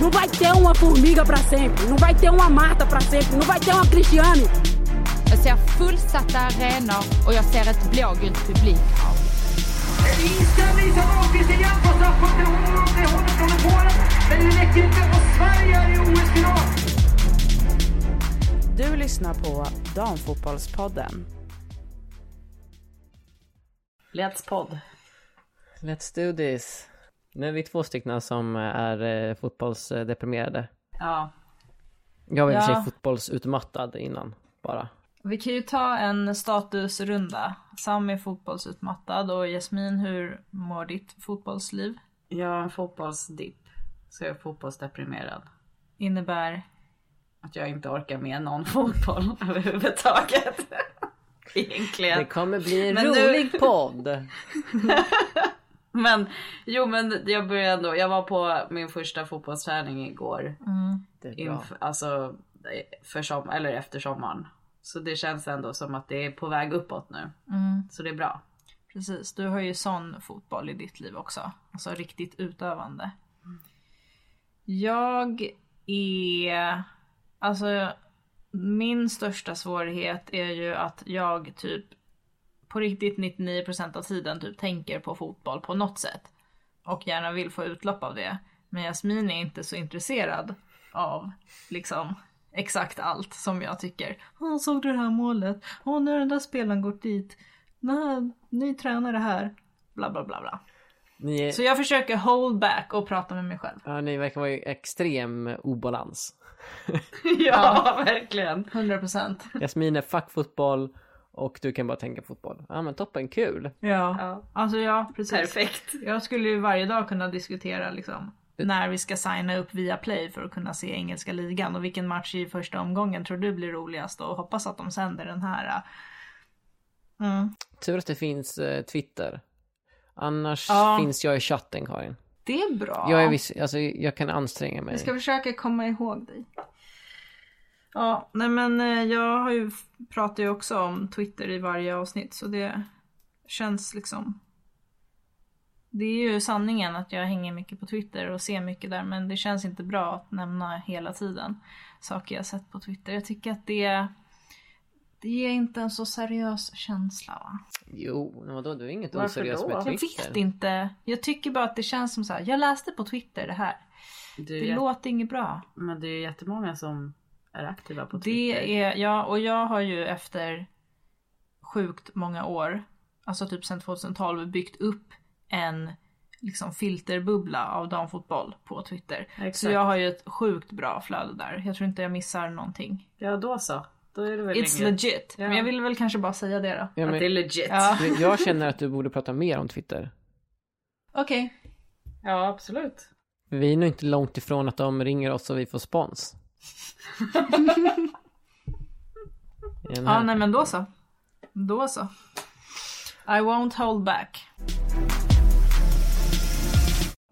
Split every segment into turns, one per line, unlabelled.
Não vai ter uma formiga pra sempre, não vai ter uma Marta pra sempre, não vai ter uma Cristiane.
Jag ser fullsatta arenor och jag ser ett blågult publikhav.
Inställning som avgörs igen på straffpunkten. Hon håller hållet från Polen, men det räcker inte. Och Sverige är i OS-final.
Du lyssnar på Damfotbollspodden. Let's podd.
Let's do this. Nu är vi två stycken som är eh, fotbollsdeprimerade.
Ja.
Jag var i och för sig
Ja.
fotbollsutmattad innan bara.
Vi kan ju ta en statusrunda. Sam är fotbollsutmattad och Jasmin, hur mår ditt fotbollsliv?
Jag har en fotbollsdipp. Så jag är fotbollsdeprimerad.
Innebär...
Att jag inte orkar med någon fotboll överhuvudtaget. Egentligen.
Det kommer bli en
Men nu-
rolig podd.
Men jo men jag började ändå. Jag var på min första fotbollsträning igår.
Det är bra.
Inf- alltså för som- eller efter sommaren. Så det känns ändå som att det är på väg uppåt nu. Så det är bra.
Precis, du har ju sån fotboll i ditt liv också. Alltså riktigt utövande. Jag är... Alltså min största svårighet är ju att jag typ på riktigt 99% av tiden typ tänker på fotboll på något sätt. Och gärna vill få utlopp av det. Men Jasmin är inte så intresserad av liksom exakt allt som jag tycker. Åh, såg du det här målet? Åh, nu har den där spelaren gått dit. Nej, ny tränare här. Bla bla bla bla.
Ni, är,
Så jag försöker hold back och prata med mig själv.
ja, ni verkar vara i extrem obalans.
ja verkligen.
100%.
Jasmin är fuck fotboll och du kan bara tänka fotboll. Ja men toppen, kul.
Ja.
Ja.
Alltså ja, precis.
Perfekt.
Jag skulle ju varje dag kunna diskutera liksom när vi ska signa upp via play för att kunna se engelska ligan och vilken match i första omgången tror du blir roligast och hoppas att de sänder den här. äh. Mm.
Tur att det finns eh, Twitter. Annars
Ja.
finns jag i chatten Karin.
Det är bra.
Jag, är viss, alltså, jag kan anstränga mig.
Jag ska försöka komma ihåg dig. Ja, nej men eh, jag har ju, pratar ju också om Twitter i varje avsnitt så det känns liksom. Det är ju sanningen att jag hänger mycket på Twitter och ser mycket där men det känns inte bra att nämna hela tiden saker jag sett på Twitter. Jag tycker att det, det ger inte en så seriös känsla va?
Jo, men vadå, du är inget
Varför
oseriös
då?
med
Jag
Twitter.
vet inte. Jag tycker bara att det känns som så här. jag läste på Twitter det här.
Det är,
Det
jät-
låter inget bra.
men det är jättemånga som är aktiva på Twitter.
Det är, ja, och jag har ju efter sjukt många år, alltså typ sedan 2012, byggt upp en liksom filterbubbla av damfotboll på Twitter.
Exakt.
Så jag har ju ett sjukt bra flöde där. Jag tror inte jag missar någonting.
Ja då så. Då är det väl
It's
inget.
legit.
Ja.
Men jag ville väl kanske bara säga det då.
Ja,
Att
men,
det är legit.
Ja.
jag- jag känner att du borde prata mer om Twitter.
Okej.
ja absolut.
Vi är nog inte långt ifrån att de ringer oss och vi får spons. I den
Ja,
här-
nej men då så. Då så. I won't hold back.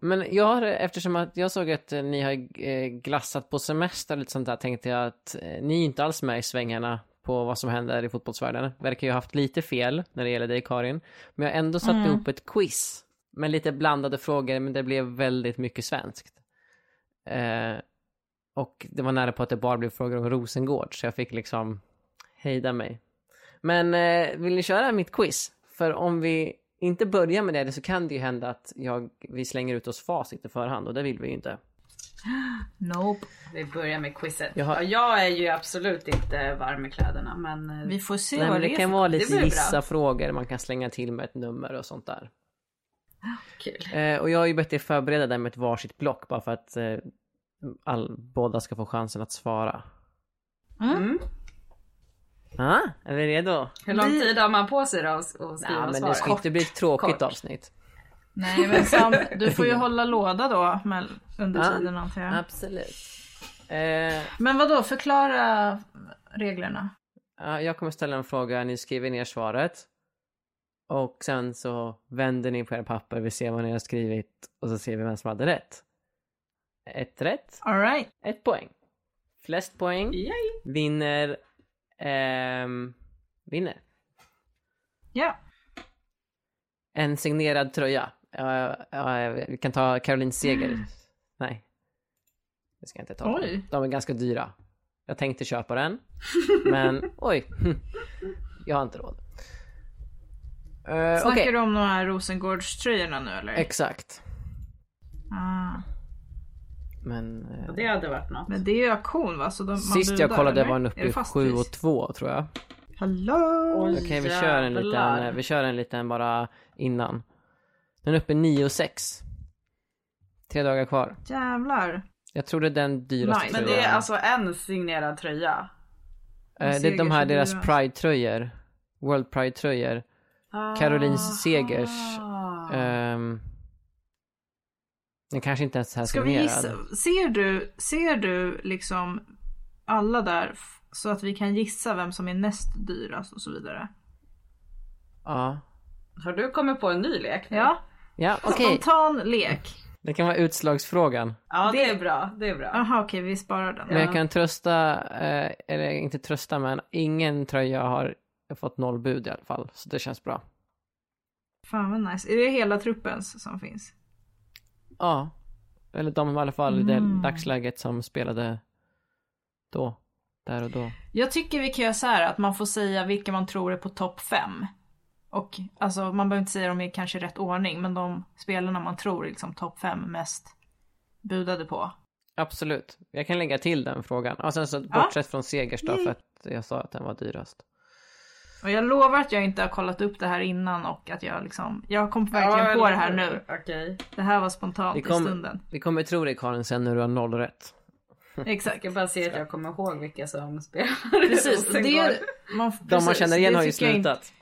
Men jag har, eftersom att jag såg att eh, ni har eh, glassat på semester och lite sånt där, tänkte jag att eh, ni är inte alls med i svängarna på vad som händer i fotbollsvärlden. Verkar ju ha haft lite fel när det gäller dig Karin. Men jag har ändå satt ihop ett quiz med lite blandade frågor, men det blev väldigt mycket svenskt. Eh, och det var nära på att det bara blev frågor om Rosengård, så jag fick liksom hejda mig. Men eh, vill ni köra mitt quiz? För om vi inte börjar med det så kan det ju hända att jag, vi slänger ut oss facit i förhand och det vill vi ju inte.
Nope.
Vi börjar med quizet.
Jag
Ja,
har-
jag är ju absolut inte varm i kläderna men eh,
Vi får se
Nej,
vad
men det
det är
kan
för-
vara
det
lite
blir bra.
gissa frågor, man kan slänga till med ett nummer och sånt där.
kul.
Eh, och jag har ju bett er förbereda det med ett varsitt block bara för att eh, all, båda ska få chansen att svara.
Mm.
Ah, är vi redo?
Hur lång tid har man på sig då att att skriva
Ja, men det
svaret?
ska inte bli ett tråkigt
Kort.
avsnitt.
Nej men Sam, du får ju hålla låda då men under
Ja.
tiden antar jag.
Absolut. Eh,
Men vad då förklara reglerna.
Ja, Jag kommer ställa en fråga, ni skriver ner svaret. Och sen så vänder ni på era papper, vi ser vad ni har skrivit och så ser vi vem som hade rätt. Ett rätt,
Alright.
ett poäng. Flest poäng
Yay.
vinner... ehm, vinner. Eh,
Ja.
En signerad tröja. Eh, eh, vi kan ta Caroline Seger. Nej. Det ska jag inte ta. på.
Mm. Oj.
De är ganska dyra. Jag tänkte köpa den, men oj. Jag har inte råd. Eh, Okej,
Snackar du om de här Rosengårdströjorna nu eller?
exakt.
ah,
Men eh,
Det hade varit något.
men det är ju auktion va? Så de, man
sist jag
budar,
kollade
eller?
var den
Är
uppe
det
i
fast
7
pris?
och 2 tror jag.
Hallå!
Okej, vi kör en liten, eh, vi kör en liten bara innan. Den är uppe i 9 och 6. Tre dagar kvar.
Jävlar.
Jag tror det är den dyraste
Nice.
tröjan.
Men det är alltså en signerad tröja.
Eh, det är de
Segers
här
och
deras
dyra.
Pride-tröjor. World Pride-tröjor. Carolines Segers.
Ah.
Um, den kanske inte ens är
Ska vi
signerad.
gissa? Ser du, ser du liksom alla där f- så att vi kan gissa vem som är näst dyrast och så vidare?
Ja,
Har du kommit på en ny lek? nu?
Ja,
ja okej.
spontan lek.
Det kan vara utslagsfrågan.
ja det är bra. Det är bra.
Jaha okej, vi sparar den.
Men jag kan trösta, eh, eller inte trösta men ingen tröja har fått noll bud i alla fall. Så det känns bra.
Fan vad nice. Är det hela truppens som finns?
Ja. Eller de i alla fall i
Mm.
det dagsläget som spelade då. Där och då.
Jag tycker vi kan göra så här att man får säga vilka man tror är på topp fem. Och alltså man behöver inte säga dem i kanske rätt ordning men de spelarna man tror är liksom topp fem mest budade på.
Absolut. Jag kan lägga till den frågan. Och sen så
Ja.
bortsett från Segers då för att jag sa att den var dyrast.
Och jag lovar att jag inte har kollat upp det här innan och att jag liksom, jag kom
Ja,
verkligen på
eller
det här
hur?
nu.
Okej. Jag
Det här var spontant
Vi kommer-
i stunden.
Vi kommer tro dig Karin sen när du har noll rätt.
Exakt.
ska bara se att jag kommer ihåg vilka som spelar.
Precis. Det, man,
De man
precis,
känner igen
det
har ju
tycker jag inte-
slutat.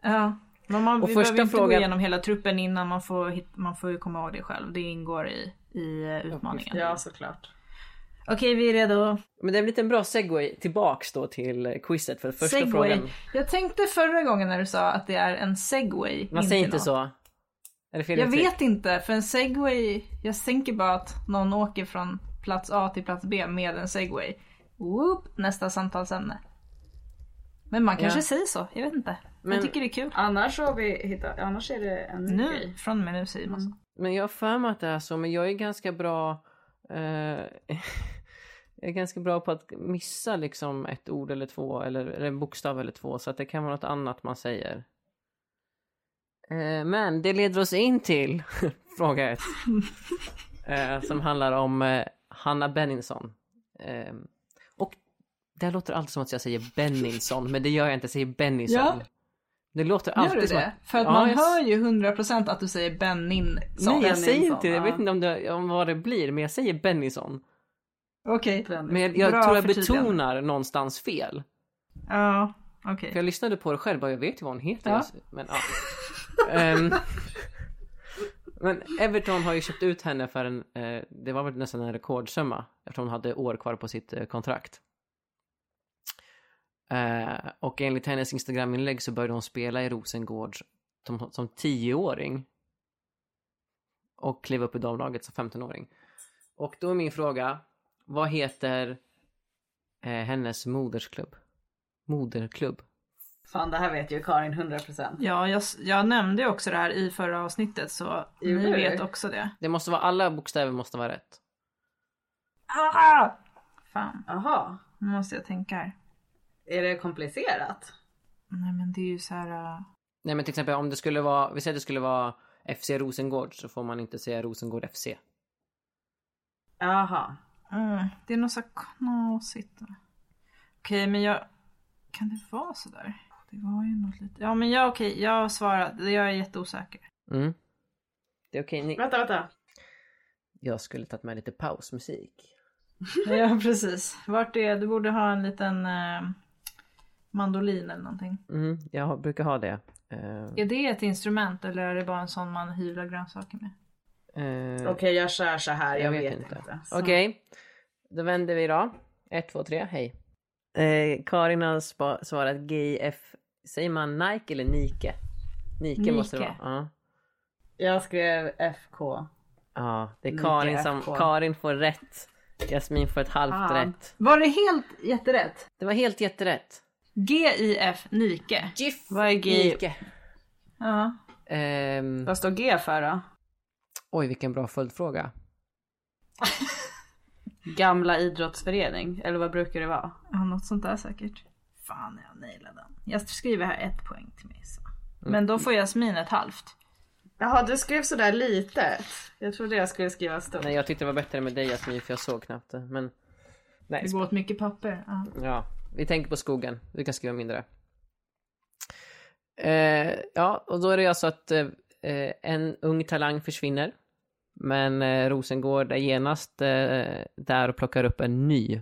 Ja. Men man,
Och
vi
första
behöver inte gå
frågan-
igenom hela truppen innan man får, hit- man får ju komma ihåg det själv. Det ingår i, i eh, utmaningen.
Ja såklart.
Okej, vi är redo.
Men det är en liten bra segway tillbaks då till eh, quizet för första
segway.
frågan.
Jag tänkte förra gången när du sa att det är en segway.
Man säger inte
något.
så. Eller typ. fel
Jag
uttryck.
vet inte, för en segway, jag tänker bara att någon åker från plats A till plats B med en segway. Whoop, nästa samtalsämne. Men man kanske
Ja.
säger så, jag vet inte.
Men-
Jag tycker det är kul.
Annars har vi hittat, annars är det en ny
Nu,
grej.
från och med nu säger man så.
Men jag har för mig att det är så, men jag är ganska bra eh, Jag är ganska bra på att missa liksom ett ord eller två eller, eller en bokstav eller två så att det kan vara något annat man säger. Eh, men det leder oss in till fråga ett. eh, som handlar om eh, Hanna Benningsson. Eh, och det låter alltid som att jag säger Benningsson men det gör jag inte, jag säger Benningsson.
Ja.
Det låter
Gör
alltid
du
som
det?
att...
För att
Ja,
man
jag-
hör ju 100% att du säger Benninson.
Nej, jag säger
Benningsson,
inte det. Jag
ja.
vet inte om, det, om vad det blir, men jag säger Bennison.
Okej.
Men jag, jag
Bra
tror jag
förtydligande.
betonar någonstans fel.
Ja, okej.
För jag lyssnade på det själv och jag vet ju vad hon heter. Alltså,
Ja.
Men, ja. Ehm, men Everton har ju köpt ut henne för en, eh, det var väl nästan en rekordsumma. Eftersom hon hade år kvar på sitt eh, kontrakt. Eh, och enligt hennes Instagram-inlägg så började hon spela i Rosengård som, som tioåring. Och klev upp i damlaget som 15-åring. Och då är min fråga, vad heter eh, hennes modersklubb? Moderklubb?
Fan det här vet ju Karin 100%.
Ja, jag, jag nämnde ju också det här i förra avsnittet så
Gjorde
ni
du?
vet också det.
Det måste vara, alla bokstäver måste vara rätt.
Ah! Fan,
Jaha.
nu måste jag tänka här.
Är det komplicerat?
Nej men det är ju så här. äh,
Nej men till exempel om det skulle vara, vi säger att det skulle vara FC Rosengård så får man inte säga Rosengård FC.
Jaha.
Mm, det är något så här knasigt. Okej men jag... Kan det vara sådär? Det var ju något lite... Ja men jag okej, jag svarar. Jag är jätteosäker.
Mm. Det är okej, ni...
Vänta vänta.
Jag skulle tagit med lite pausmusik.
ja precis. Vart är... Du borde ha en liten eh, mandolin eller någonting.
Mm, jag har- brukar ha det. Eh,
Är det ett instrument eller är det bara en sån man hyvlar grönsaker med?
eh,
Okej jag kör så här, jag, vet, inte.
Okej, då vänder vi då. Ett, två, tre, hej. Eh, Karin har spa- svarat GIF. Säger man Nike eller Nike? Nike, måste det vara.
Nike.
Ja.
Jag skrev FK.
Ja, det är
Nike
Karin som...
FK.
Karin får rätt. Jasmin får ett halvt
Fan.
rätt.
Var det helt jätterätt?
Det var helt jätterätt.
GIF Nike.
GIF.
Vad är GIF?
Nike.
Ja.
Ehm,
Vad står G för då?
oj, vilken bra följdfråga.
Gamla idrottsförening, eller vad brukar det vara?
Ja, något sånt där säkert. Fan, jag nailade den. Jag skriver här ett poäng till mig. Så. Men då får Jasmin ett halvt.
Jaha, du skrev sådär litet. Jag trodde jag skulle skriva stort.
Nej jag tyckte det var bättre med dig Jasmin för jag såg knappt det. Men... Nej,
Det går åt mycket papper. Ja.
Ja, vi tänker på skogen. Vi kan skriva mindre. Eh, ja, och då är det alltså att eh, eh, en ung talang försvinner. Men eh, Rosengård är genast eh, där och plockar upp en ny.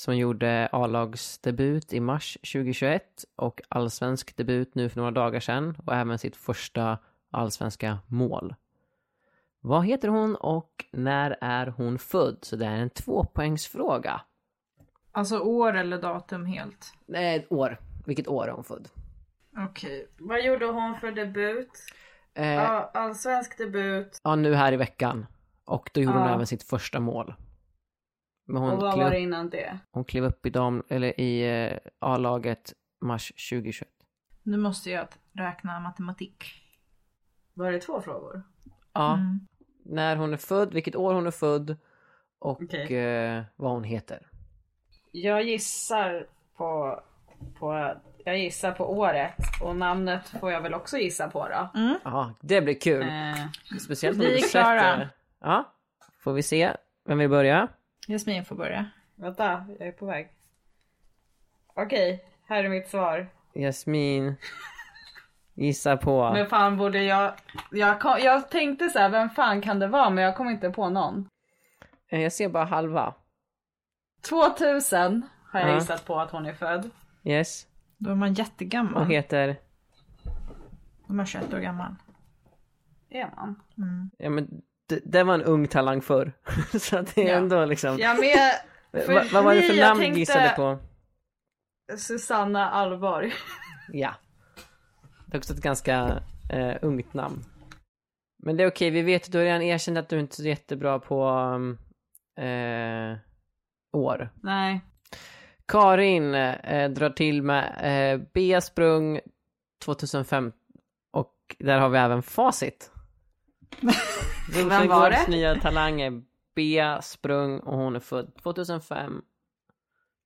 Som gjorde A-lagsdebut i mars 2021 och allsvensk debut nu för några dagar sedan och även sitt första allsvenska mål. Vad heter hon och när är hon född? Så det är en tvåpoängsfråga.
Alltså år eller datum helt.
Nej, ett Eh, år. Vilket år är hon född?
Okej.
Vad gjorde hon för debut?
Eh, ja.
Ja, allsvensk debut.
nu här i veckan. Och då gjorde hon
Ja.
även sitt första mål. Men hon,
Och vad
klev,
var det
upp,
innan det?
hon klev upp i, dam, eller i eh, A-laget mars 2021.
Nu måste jag räkna matematik.
Var det två frågor?
Ja,
Mm.
när hon är född, vilket år hon är född och
Okej.
eh, vad hon heter.
Jag gissar på, på... Jag gissar på året. Och namnet får jag väl också gissa på då.
Ja, det blir kul.
Eh,
Speciellt om
vi
du
är
sätter...
klara.
Ja, får vi se. Vem vill börja?
Jasmin får börja.
vänta, jag är på väg. Okej, här är mitt svar.
Jasmin. Gissa på.
Men fan borde jag... Jag, kom, jag tänkte så här, vem fan kan det vara? Men jag kom inte på någon.
Eh, Jag ser bara halva.
2000 har jag
Ja.
gissat på att hon är född.
Yes.
Då är man jättegammal.
Hon
Mm.
heter...
Då är man 21 år gammal.
Är man?
Ja men det, det var en ung talang förr. så att det är
Ja.
ändå liksom. eh,
Ja men
Va, vad var det för
ni, jag
namn
tänkte-
du gissade på?
Susanna Alborg.
Ja. Det är också ett ganska eh, ungt namn. Men det är okej, vi vet, du har redan erkänt att du inte är så jättebra på um, eh, år.
Nej.
Karin eh, drar till med eh, Bea Sprung 2005 och där har vi även facit.
Vem var det?
Rosengårds nya talang är Bea Sprung och hon är född 2005.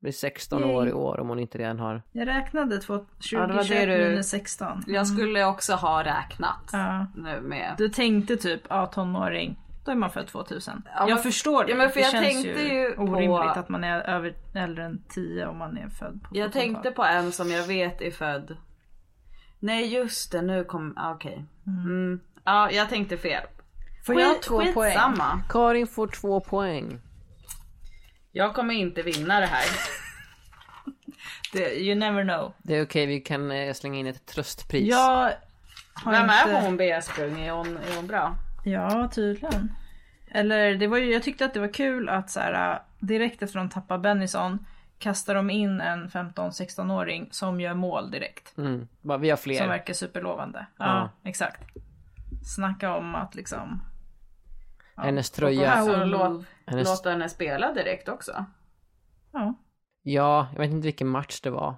Blir 16
Yay.
år i år om hon inte redan har.
Jag räknade två- 20,
Ja, det var det
21
du-
minus 16.
Jag skulle också ha räknat
Ja.
nu med.
Du tänkte typ, ja tonåring, då är man född 2000.
Ja, men-
jag förstår det.
ja, men för
det
jag
känns
tänkte ju på-
orimligt att man är över, äldre än 10 om man är född på
Jag
2000-talet.
tänkte på en som jag vet är född. Nej just det, nu kom... ah, Okej. Mm. Ja, jag tänkte fel.
Får jag
Skit-
två poäng?
Skitsamma.
Karin får två poäng.
Jag kommer inte vinna det här.
Det, you never know.
Det är okej, vi kan eh, slänga in ett tröstpris.
Jag har
Vem
inte...
är hon Bea Sprung? Är hon, är hon bra?
Ja, tydligen. Eller det var ju, jag tyckte att det var kul att så här, äh, direkt efter de tappar Bennison kastar de in en 15-16-åring som gör mål direkt.
Mm, bara, vi har fler.
Som verkar superlovande. Ja,
Ja.
exakt. Snacka om att liksom...
Hennes
Och
tröja.
alltså, låt,
Hennes...
låta henne spela direkt också.
Ja.
Ja, jag vet inte vilken match det var.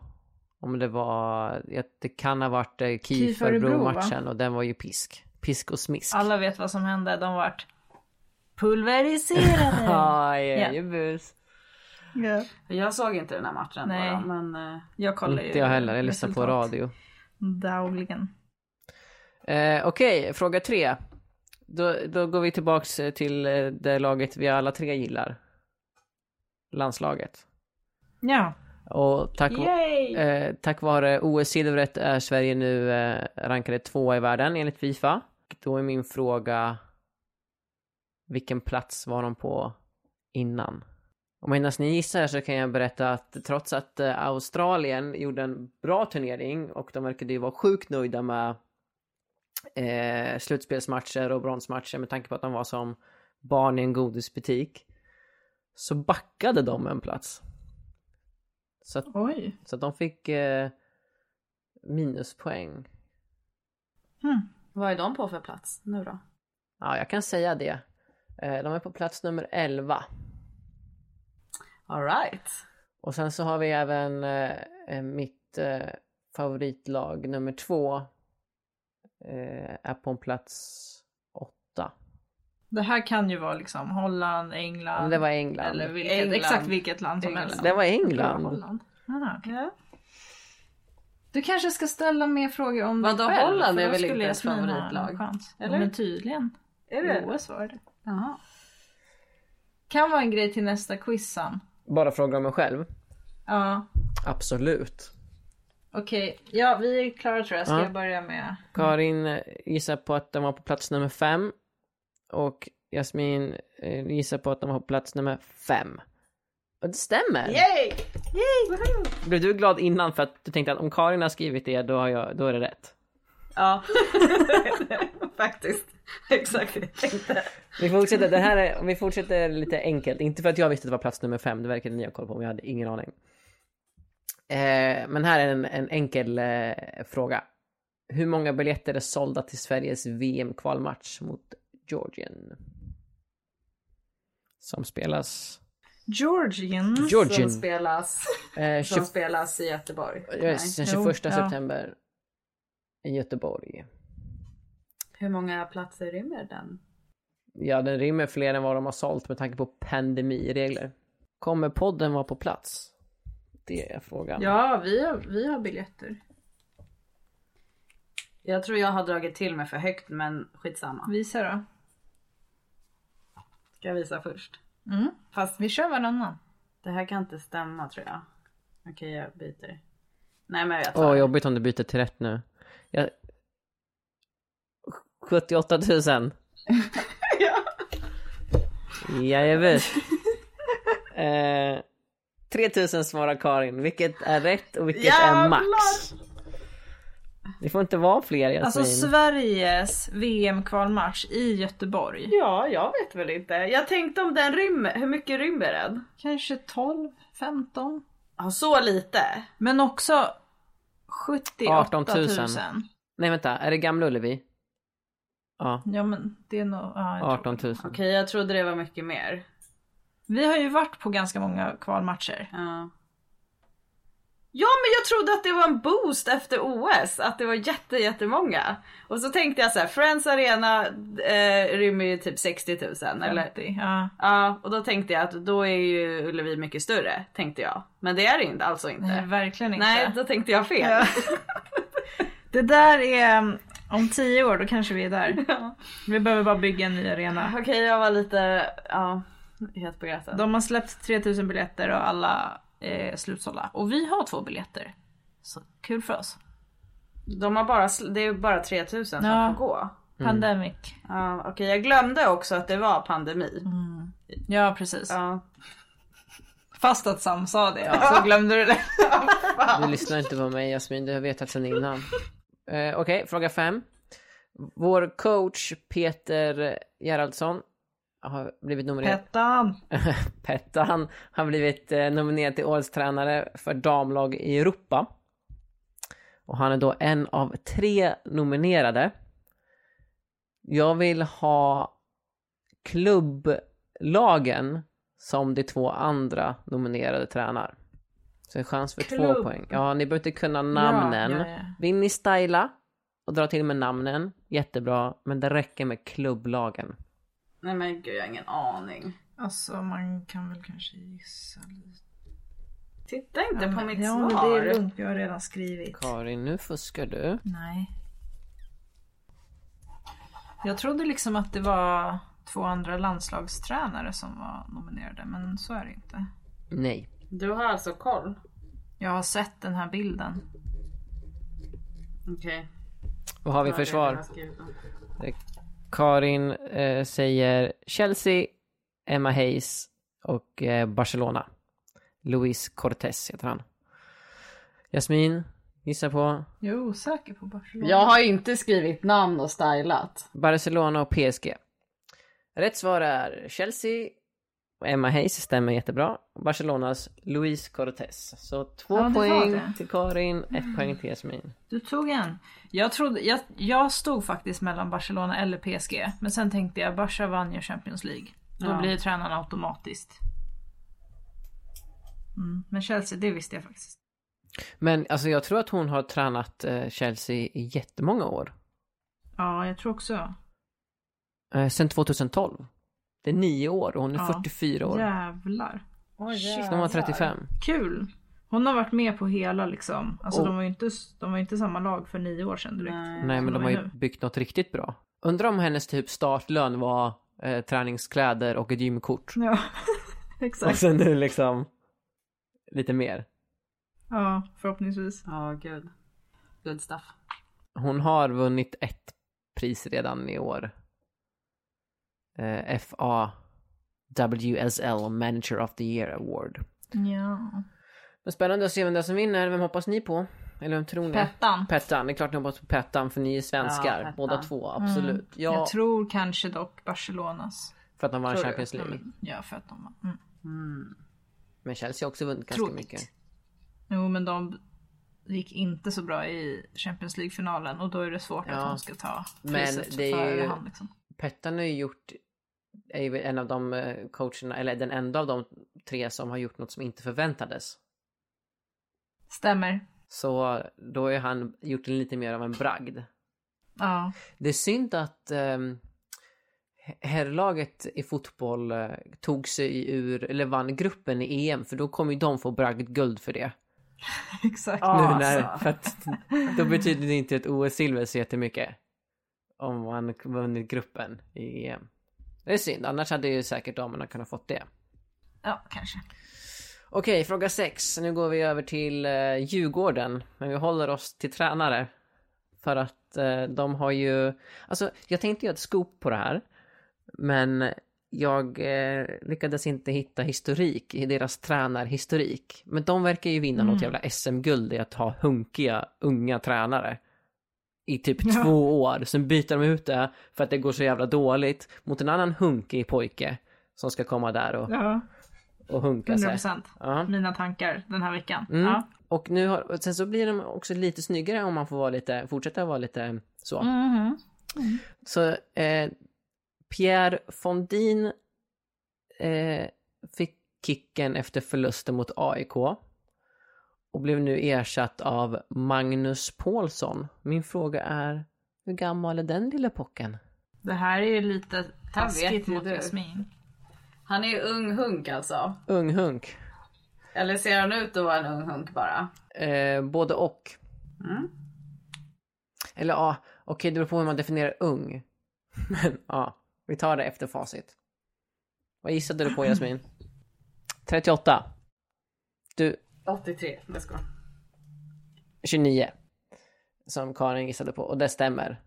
Om det var, ja, det kan ha varit eh, KIF
KIF Örebro,
Örebro-matchen och den var ju pisk. Pisk och smisk.
Alla vet vad som hände. De vart pulveriserade.
Aj, yeah.
Ja.
bus.
Ja.
Jag såg inte den här matchen
Nej.
bara, men eh,
Jag kollar ju
Inte jag heller, jag lyssnar på
resultat
radio.
Dagligen.
Eh, Okej, fråga tre. Då, då går vi tillbaks eh, till eh, det laget vi alla tre gillar. Landslaget.
Ja.
Och tack,
Yay!
eh, tack vare OS-silvret är Sverige nu eh, rankade tvåa i världen enligt Fifa. Och Då är min fråga, vilken plats var de på innan? Och medan ni gissar så kan jag berätta att trots att eh, Australien gjorde en bra turnering och de verkade ju vara sjukt nöjda med eh, slutspelsmatcher och bronsmatcher med tanke på att de var som barn i en godisbutik. Så backade de en plats. Så att
Oj.
så att de fick eh, minuspoäng.
vad är de på för plats nu då?
Ja, jag kan säga det. Eh, de är på plats nummer 11.
Alright.
Och sen så har vi även eh, eh, mitt eh, favoritlag nummer två. Eh, är på en plats åtta.
Det här kan ju vara liksom Holland, England.
Om det var England.
Eller vilket,
England.
exakt vilket land som
England.
helst.
Det var England.
Holland. Ah, okej. Du kanske ska ställa mer frågor om dig
Vadå,
själv.
Holland
för
är
då
väl
skulle
inte
jag
ett
smina en
favoritlag?
Chans.
Eller?
Eller? Men tydligen.
Är det?
OS var det.
Jaha.
Kan vara en grej till nästa quiz Sam.
Bara fråga om mig själv.
Ja,
Absolut.
okej. Ja, vi är klara tror jag. Ska
Ja.
jag börja med?
Karin eh, gissar på att den var på plats nummer fem. Och Jasmin eh, gissar på att den var på plats nummer fem. Och det stämmer!
Yay!
Blev du glad innan för att du tänkte att om Karin har skrivit det då, har jag, då är det rätt?
Ja, faktiskt. Exakt det jag tänkte.
Vi fortsätter, det här är, vi fortsätter lite enkelt. Inte för att jag visste att det var plats nummer fem, det verkade ni ha koll på, men jag hade ingen aning. Eh, men här är en, en enkel eh, fråga. Hur många biljetter är sålda till Sveriges VM-kvalmatch mot Georgien? Som spelas...
Georgien.
Georgien!
Som spelas,
Eh,
som
20,
spelas i Göteborg.
eh,
Nej.
sen
jo,
21
ja.
september i Göteborg.
Hur många platser rymmer den?
Ja, den rymmer fler än vad de har sålt med tanke på pandemiregler. Kommer podden vara på plats? Det är frågan.
Ja, vi har, vi har biljetter.
Jag tror jag har dragit till mig för högt men skitsamma.
Visa då.
Ska jag visa först?
Mm.
Fast
Vi kör varannan.
det här kan inte stämma tror jag. Okej jag byter. Nej men jag
Åh,
tar.
jobbigt om du byter till rätt nu. Jag... 78 000. Jajamän. eh, 3 000 svarar Karin. Vilket är rätt och vilket är max? Det får inte vara fler Jasmin.
Alltså Sveriges VM-kvalmatch i Göteborg.
Ja jag vet väl inte. Jag tänkte om den rymmer, hur mycket rymmer den?
Kanske 12, 15.
Ja så lite?
Men också 78
18
000.
000. Nej vänta, är det Gamla Ullevi? Ja,
Ja men det är nog... Ja, jag tror.
18 000.
Okej jag trodde det var mycket mer.
Vi har ju varit på ganska många kvalmatcher.
Ja. Ja men jag trodde att det var en boost efter OS, att det var jätte jättemånga. Och så tänkte jag så här, Friends Arena eh, rymmer ju typ 60 000 eller
50, ja.
Ja, och då tänkte jag att då är ju Ullevi mycket större, tänkte jag. Men det är det inte, alltså inte.
Nej,
Nej,
verkligen inte.
då tänkte jag fel.
Ja. Det där är... um, Om tio år, då kanske vi är där.
Ja.
Vi behöver bara bygga en ny arena.
Okej, jag var lite, ja, helt på gröten.
De har släppt 3000 biljetter och alla är slutsålda. Och vi har två biljetter. Så kul för oss.
De har bara, sl- det är bara 3000 som
Ja.
får gå.
Pandemic.
Ja, Okej, jag glömde också att det var pandemi.
Mm. Ja, precis.
Ja.
Fast att Sam sa det, så glömde du det.
Du lyssnar inte på mig Jasmin, det har jag vetat sedan innan. Eh, Okej, fråga fem. Vår coach Peter Gerhardsson har blivit nominerad.
Pettan!
Pettan har blivit eh, nominerad till årets tränare för damlag i Europa. Och han är då en av tre nominerade. Jag vill ha klubblagen som de två andra nominerade tränar. Så en chans för två
Klubb.
poäng. Ja, ni behöver inte kunna namnen.
Ja, ja, ja.
Vill ni styla och dra till med namnen, jättebra. Men det räcker med klubblagen.
Nej men gud, jag har ingen aning.
Alltså man kan väl kanske gissa lite.
Titta inte på mitt
ja, men
svar.
det är lugnt, jag har redan skrivit.
Karin, nu fuskar du.
Nej. Jag trodde liksom att det var två andra landslagstränare som var nominerade, men så är det inte.
Nej.
Du har alltså koll?
Jag har sett den här bilden.
Okej.
Vad har vi för svar? Eh, Karin eh, säger Chelsea, Emma Hayes och eh, Barcelona. Luis Cortez heter han. Jasmin, gissa på
Jag är osäker på Barcelona.
Jag har inte skrivit namn och stylat.
Barcelona och PSG. Rätt svar är Chelsea och Emma Hayes stämmer jättebra. Barcelonas Luis Cortez. Så två
Ja, det var
poäng
det.
till Karin, ett poäng till Jasmin.
Du tog en. Jag, trodde, jag, jag stod faktiskt mellan Barcelona eller PSG, men sen tänkte jag Barca vann ju Champions League. Då
Ja.
blir ju tränaren automatiskt. Mm, men Chelsea, det visste jag faktiskt.
Men alltså jag tror att hon har tränat eh, Chelsea i jättemånga år.
Ja, jag tror också
Eh, sen 2012. Det är nio år och hon är
Ja.
44 år.
Jävlar.
Shit, hon var 35.
Kul. Hon har varit med på hela liksom. Alltså
Och-
de var ju inte, de var ju inte samma lag för nio år sedan direkt.
Nej, men
Som
de
de
har
är
ju
nu.
byggt något riktigt bra. Undrar om hennes typ startlön var eh, träningskläder och ett gymkort.
Ja,
Och
exakt.
sen nu liksom lite mer.
Ja, förhoppningsvis.
Ja, gud. Good stuff.
Hon har vunnit ett pris redan i år. Eh, FA WSL Manager of the Year Award.
Ja.
Men spännande att se vem det är som vinner. Vem hoppas ni på? Eller vem tror ni?
Pettan.
Pettan. Det är klart ni hoppas på Pettan för ni är svenskar.
Ja, Pettan.
Båda två, absolut. Ja,
Mm. Jag tror kanske dock Barcelonas.
för att de vann
Tror du?
Champions League.
Ja, men- Ja, för att de var... Mm.
Men Chelsea har också vunnit ganska
Troligt.
mycket.
Jo, men de gick inte så bra i Champions League-finalen och då är det svårt
Ja.
att de ska ta
Men
priset
det är
för
ju-
han. Liksom.
Pettan har ju gjort, är ju en av de eh, coacherna, eller den enda av de tre som har gjort något som inte förväntades.
Stämmer.
Så då har ju han gjort en lite mer av en bragd.
Ja.
Det är synd att eh, herrlaget i fotboll eh, tog sig ur, eller vann gruppen i EM, för då kommer ju de få bragdguld för det.
Exakt.
nu
alltså.
när, för att, då betyder det inte ett OS-silver så jättemycket. Om man vunnit gruppen i EM. Det är synd, annars hade ju säkert damerna kunnat fått det.
Ja, kanske.
Okej, fråga 6. Nu går vi över till eh, Djurgården. Men vi håller oss till tränare. För att eh, de har ju... Alltså, jag tänkte göra ett scoop på det här. Men jag eh, lyckades inte hitta historik i deras tränarhistorik. Men de verkar ju vinna
Mm.
något jävla SM-guld i att ha hunkiga unga tränare. I typ två år. Sen byter de ut det för att det går så jävla dåligt mot en annan hunkig pojke. Som ska komma där och,
Ja,
och hunka sig.
100 procent.
Ja.
Mina tankar den här veckan.
Mm.
Ja.
Och nu har, och sen så blir de också lite snyggare om man får vara lite, fortsätta vara lite så.
Mhm.
Så eh, Pierre Fondin eh, fick kicken efter förlusten mot AIK och blev nu ersatt av Magnus Paulsson. Min fråga är, hur gammal är den lille pocken?
Det här är ju lite
vet
taskigt
ju
mot
du.
Jasmin.
Han är ju ung hunk alltså.
Ung hunk.
Eller ser han ut att vara en ung hunk bara?
Eh, både och.
Mm.
Eller ja, okej det beror på hur man definierar ung. Men ja, vi tar det efter facit. Vad gissade du på Jasmin? 38. Du,
83, jag skojar.
29. Som Karin gissade på och det stämmer.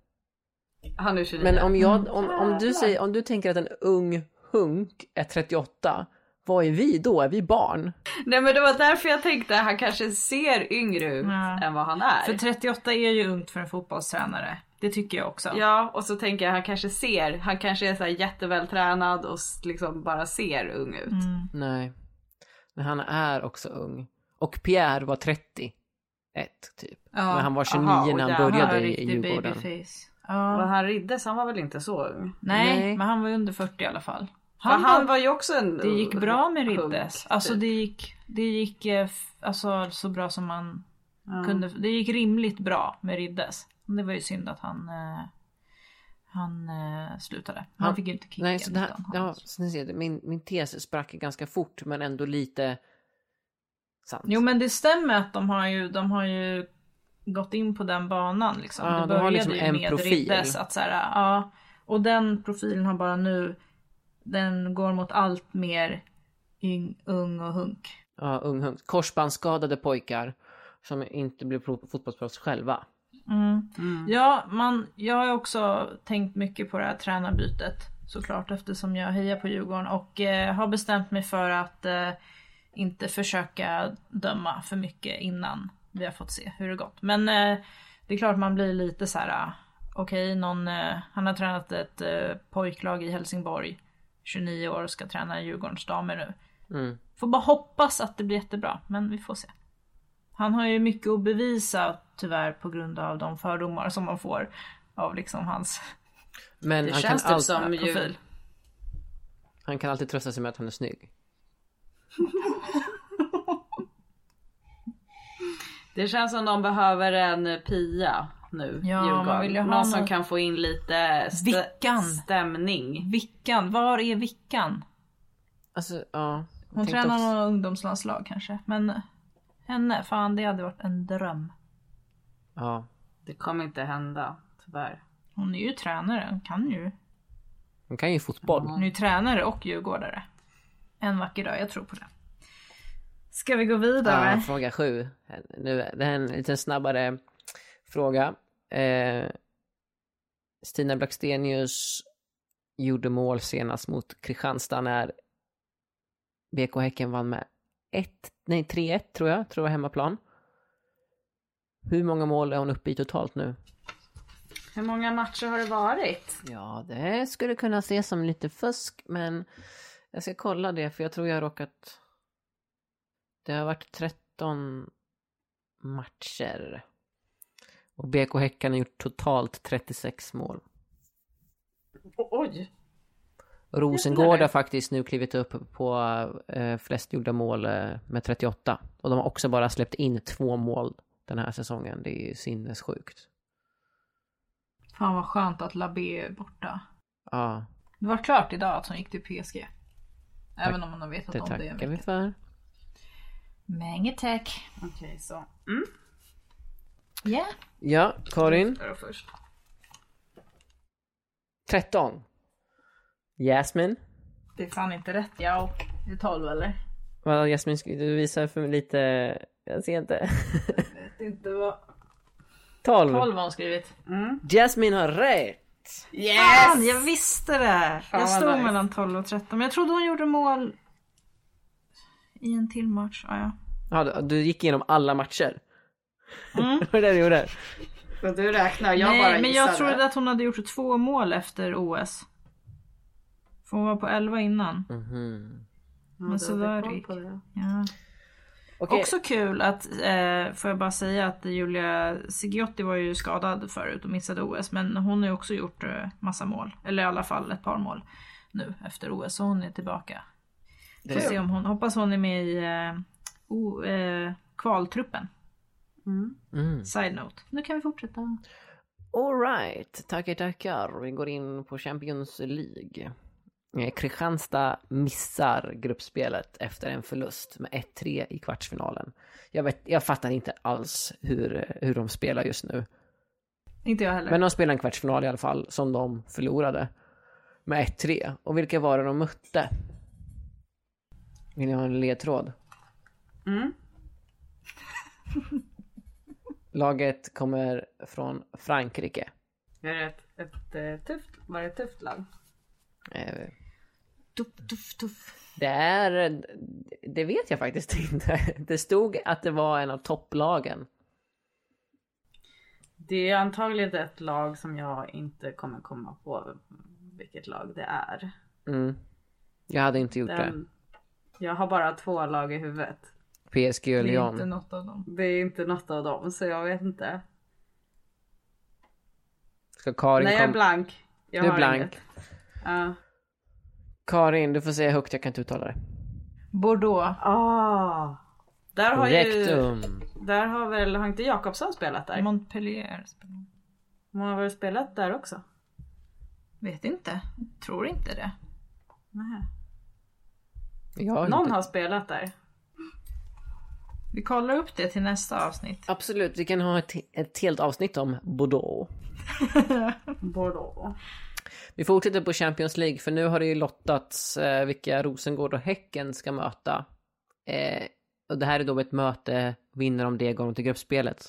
Han är 29.
Men om, jag, om, om, du, säger, om du tänker att en ung hunk är 38, vad är vi då? Är vi barn?
Nej men det var därför jag tänkte att han kanske ser yngre ut
Ja.
än vad han är.
För 38 är ju ungt för en fotbollstränare. Det tycker jag också.
Ja, och så tänker jag han kanske ser, han kanske är så här jättevältränad och s- liksom bara ser ung ut.
Mm.
Nej. Men han är också ung. Och Pierre var 31 typ.
Ja,
Men han var 29
aha, och jävlar,
när han
Han har
började i
riktig
Djurgården.
babyface. Ja.
Men han Riddes, han var väl inte så ung?
Nej,
Nej.
men han var ju under 40 i alla fall.
Han,
Han,
han
var,
var ju också en
det gick bra med
hunk,
Riddes. Alltså
typ.
det gick, det gick eh, f- alltså, så bra som man kunde. Det gick rimligt bra med Riddes. Men Det var ju synd att han, eh, han eh, slutade. Han
Han-
fick ju inte kicken.
Nej, så det här,
utan han-
ja, så ni ser, det, min, min tes sprack ganska fort men ändå lite sant.
Jo men det stämmer att de har ju, de har ju gått in på den banan liksom.
Ja,
det
de har
började
liksom
ju
en
med
profil.
Riddes att så här, ja. Och den profilen har bara nu, den går mot allt mer yng, ung och hunk.
Ja, ung hund. Korsbandsskadade pojkar som inte blev pro- fotbollsproffs själva.
Mm. Ja, man, jag har också tänkt mycket på det här tränarbytet såklart eftersom jag hejar på Djurgården och eh, har bestämt mig för att eh, inte försöka döma för mycket innan vi har fått se hur det gått. Men eh, det är klart man blir lite så här. ah, okej någon, eh, han har tränat ett eh, pojklag i Helsingborg, 29 år och ska träna Djurgårdens damer nu.
Mm.
Får bara hoppas att det blir jättebra, men vi får se. Han har ju mycket att bevisa tyvärr på grund av de fördomar som man får av liksom hans
Men
Det
han kan,
känns typ
all-
som ju...
profil.
han kan alltid trösta sig med att han är snygg.
Det känns som de behöver en Pia nu,
Ja,
Djurgården.
man vill ju ha
Någon som
något-
kan få in lite stä-
Vickan.
stämning.
Vickan, var är Vickan?
Alltså, ja.
Hon
Tänkte
tränar
också-
några ungdomslandslag kanske. Men henne, fan det hade varit en dröm.
Ja.
Det kommer inte hända, tyvärr.
Hon är ju tränare, hon kan ju.
Hon kan ju fotboll.
Hon är ju tränare och djurgårdare. En vacker dag, jag tror på det. Ska vi gå
Ja,
vidare?
fråga sju. Nu, det här är en lite snabbare fråga. Eh, Stina Blackstenius gjorde mål senast mot Kristianstad när BK Häcken vann med 1, nej 3-1 tror jag, tror jag var hemmaplan. Hur många mål är hon uppe i totalt nu?
Hur många matcher har det varit?
Ja, det skulle kunna ses som lite fusk, men jag ska kolla det för jag tror jag har råkat... Det har varit 13 matcher. Och BK Häcken har gjort totalt 36 mål.
O- Oj!
Rosengård har faktiskt nu klivit upp på eh, flest gjorda mål eh, med 38. Och de har också bara släppt in två mål den här säsongen. Det är ju sinnessjukt.
Fan vad skönt att Labé är borta.
Ja,
Det var klart idag att hon gick till PSG. Även om hon har vetat
det
om det en
tackar vi
vecka.
för.
Mange tack.
Okej, så. Mm.
Yeah.
Ja, Karin.
Jag då först.
13. Jasmin.
Det är fan inte rätt, ja. Det är 12 eller?
Vad Jasmin, ska- du visar för mig lite... Jag ser inte.
Jag vet inte vad...
12.
12 har hon skrivit.
Jasmin har rätt!
Yes!
Fan, jag visste det!
vad
jag stod
nice.
mellan 12 och 13, men jag trodde hon gjorde mål i en till match. Ah, ja.
Ja, du, du gick igenom alla matcher. Det var det du gjorde.
Och du räknar, jag bara
Nej, men jag
gissade.
trodde att hon hade gjort två mål efter OS. För hon var på 11 innan. Men så var det
på det.
ja.
Okej.
Också kul att, eh, får jag bara säga att Julia Sigiotti var ju skadad förut och missade OS. Men hon har ju också gjort eh, massa mål. Eller i alla fall ett par mål nu efter OS. Så hon är tillbaka. Får
Det-
se om hon, hoppas hon är med i eh, o, eh, kvaltruppen.
Mm.
Side note. Nu kan vi fortsätta.
Alright, tackar tackar. Vi går in på Champions League. Eh, Kristianstad missar gruppspelet efter en förlust med 1-3 i kvartsfinalen. Jag, vet, jag fattar inte alls hur, hur de spelar just nu.
Inte jag heller.
Men de spelade en kvartsfinal i alla fall som de förlorade med 1-3. Och vilka var det de mötte? Vill ni ha en ledtråd?
Mm.
Laget kommer från Frankrike.
Det är ett, ett, eh, tufft, var det ett tufft lag?
Eh,
Tuff, tuff, tuff.
Det är... Det vet jag faktiskt inte. Det stod att det var en av topplagen.
Det är antagligen ett lag som jag inte kommer komma på vilket lag det är.
Mm. Jag hade inte gjort
Den, jag har bara två lag i huvudet.
det. PSG och
Det är inte
Lyon.
något av dem.
Det är inte något av dem så jag vet inte.
Ska Karin
Nej jag är
kom...
blank. Jag
Du är
har
blank.
inget. Ja.
Karin, du får säga högt, jag kan inte uttala det.
Bordeaux.
Ah. Där har ju...
Rektum.
Där har väl... Har inte Jakobsson spelat där?
Montpellier.
Hon har väl spelat där också?
Vet inte. Tror inte det.
Nej.
Jag har
Någon
inte-
har spelat där.
Vi kollar upp det till nästa avsnitt.
Absolut, vi kan ha ett, ett helt avsnitt om Bordeaux.
Bordeaux.
Vi fortsätter på Champions League för nu har det ju lottats eh, vilka Rosengård och Häcken ska möta. Eh, och det här är då ett möte, vinner om det går de till gruppspelet.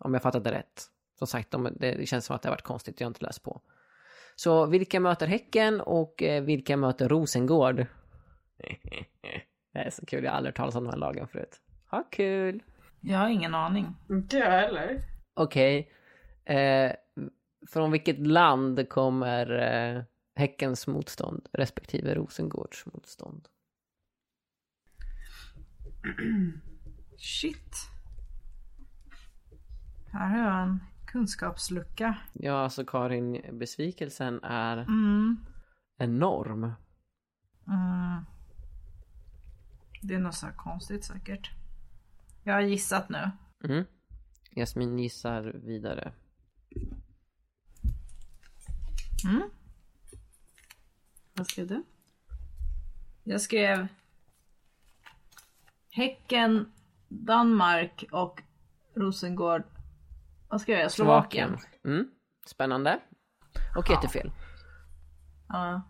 Om jag fattade rätt. Som sagt, de, det känns som att det har varit konstigt, jag har inte läst på. Så vilka möter Häcken och eh, vilka möter Rosengård? det är så kul, jag har aldrig hört talas om de här lagen förut. Ha kul!
Jag har ingen aning.
Inte jag heller.
Okej. Eh, från vilket land kommer eh, Häckens motstånd respektive Rosengårds motstånd?
Shit. Här har jag en kunskapslucka.
Ja, alltså Karin, besvikelsen är
Mm.
enorm.
Mm. Det är något så här konstigt säkert. Jag har gissat nu.
Mm. Jasmin gissar vidare.
Vad skrev du?
Jag skrev Häcken, Danmark och Rosengård. Vad skrev jag? Slovakien.
Mm. Spännande. Och ett är fel.
Ja.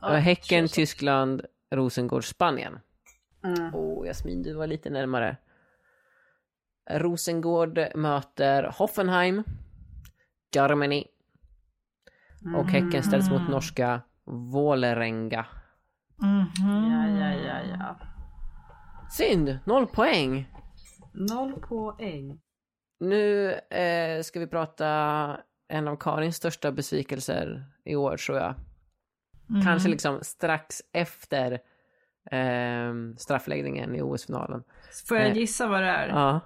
Ja, häcken, Tyskland, Rosengård, Spanien. Åh, Jasmin, du var lite närmare. Rosengård möter Hoffenheim, Germany. Och Häcken ställs mot norska Vålerenga.
Ja, ja,
Mm.
ja, ja.
Synd, noll poäng.
Noll poäng.
Nu eh, ska vi prata en av Karins största besvikelser i år tror jag. Kanske liksom strax efter ehm, straffläggningen i OS-finalen.
Får jag
Eh.
gissa vad det är?
Ja,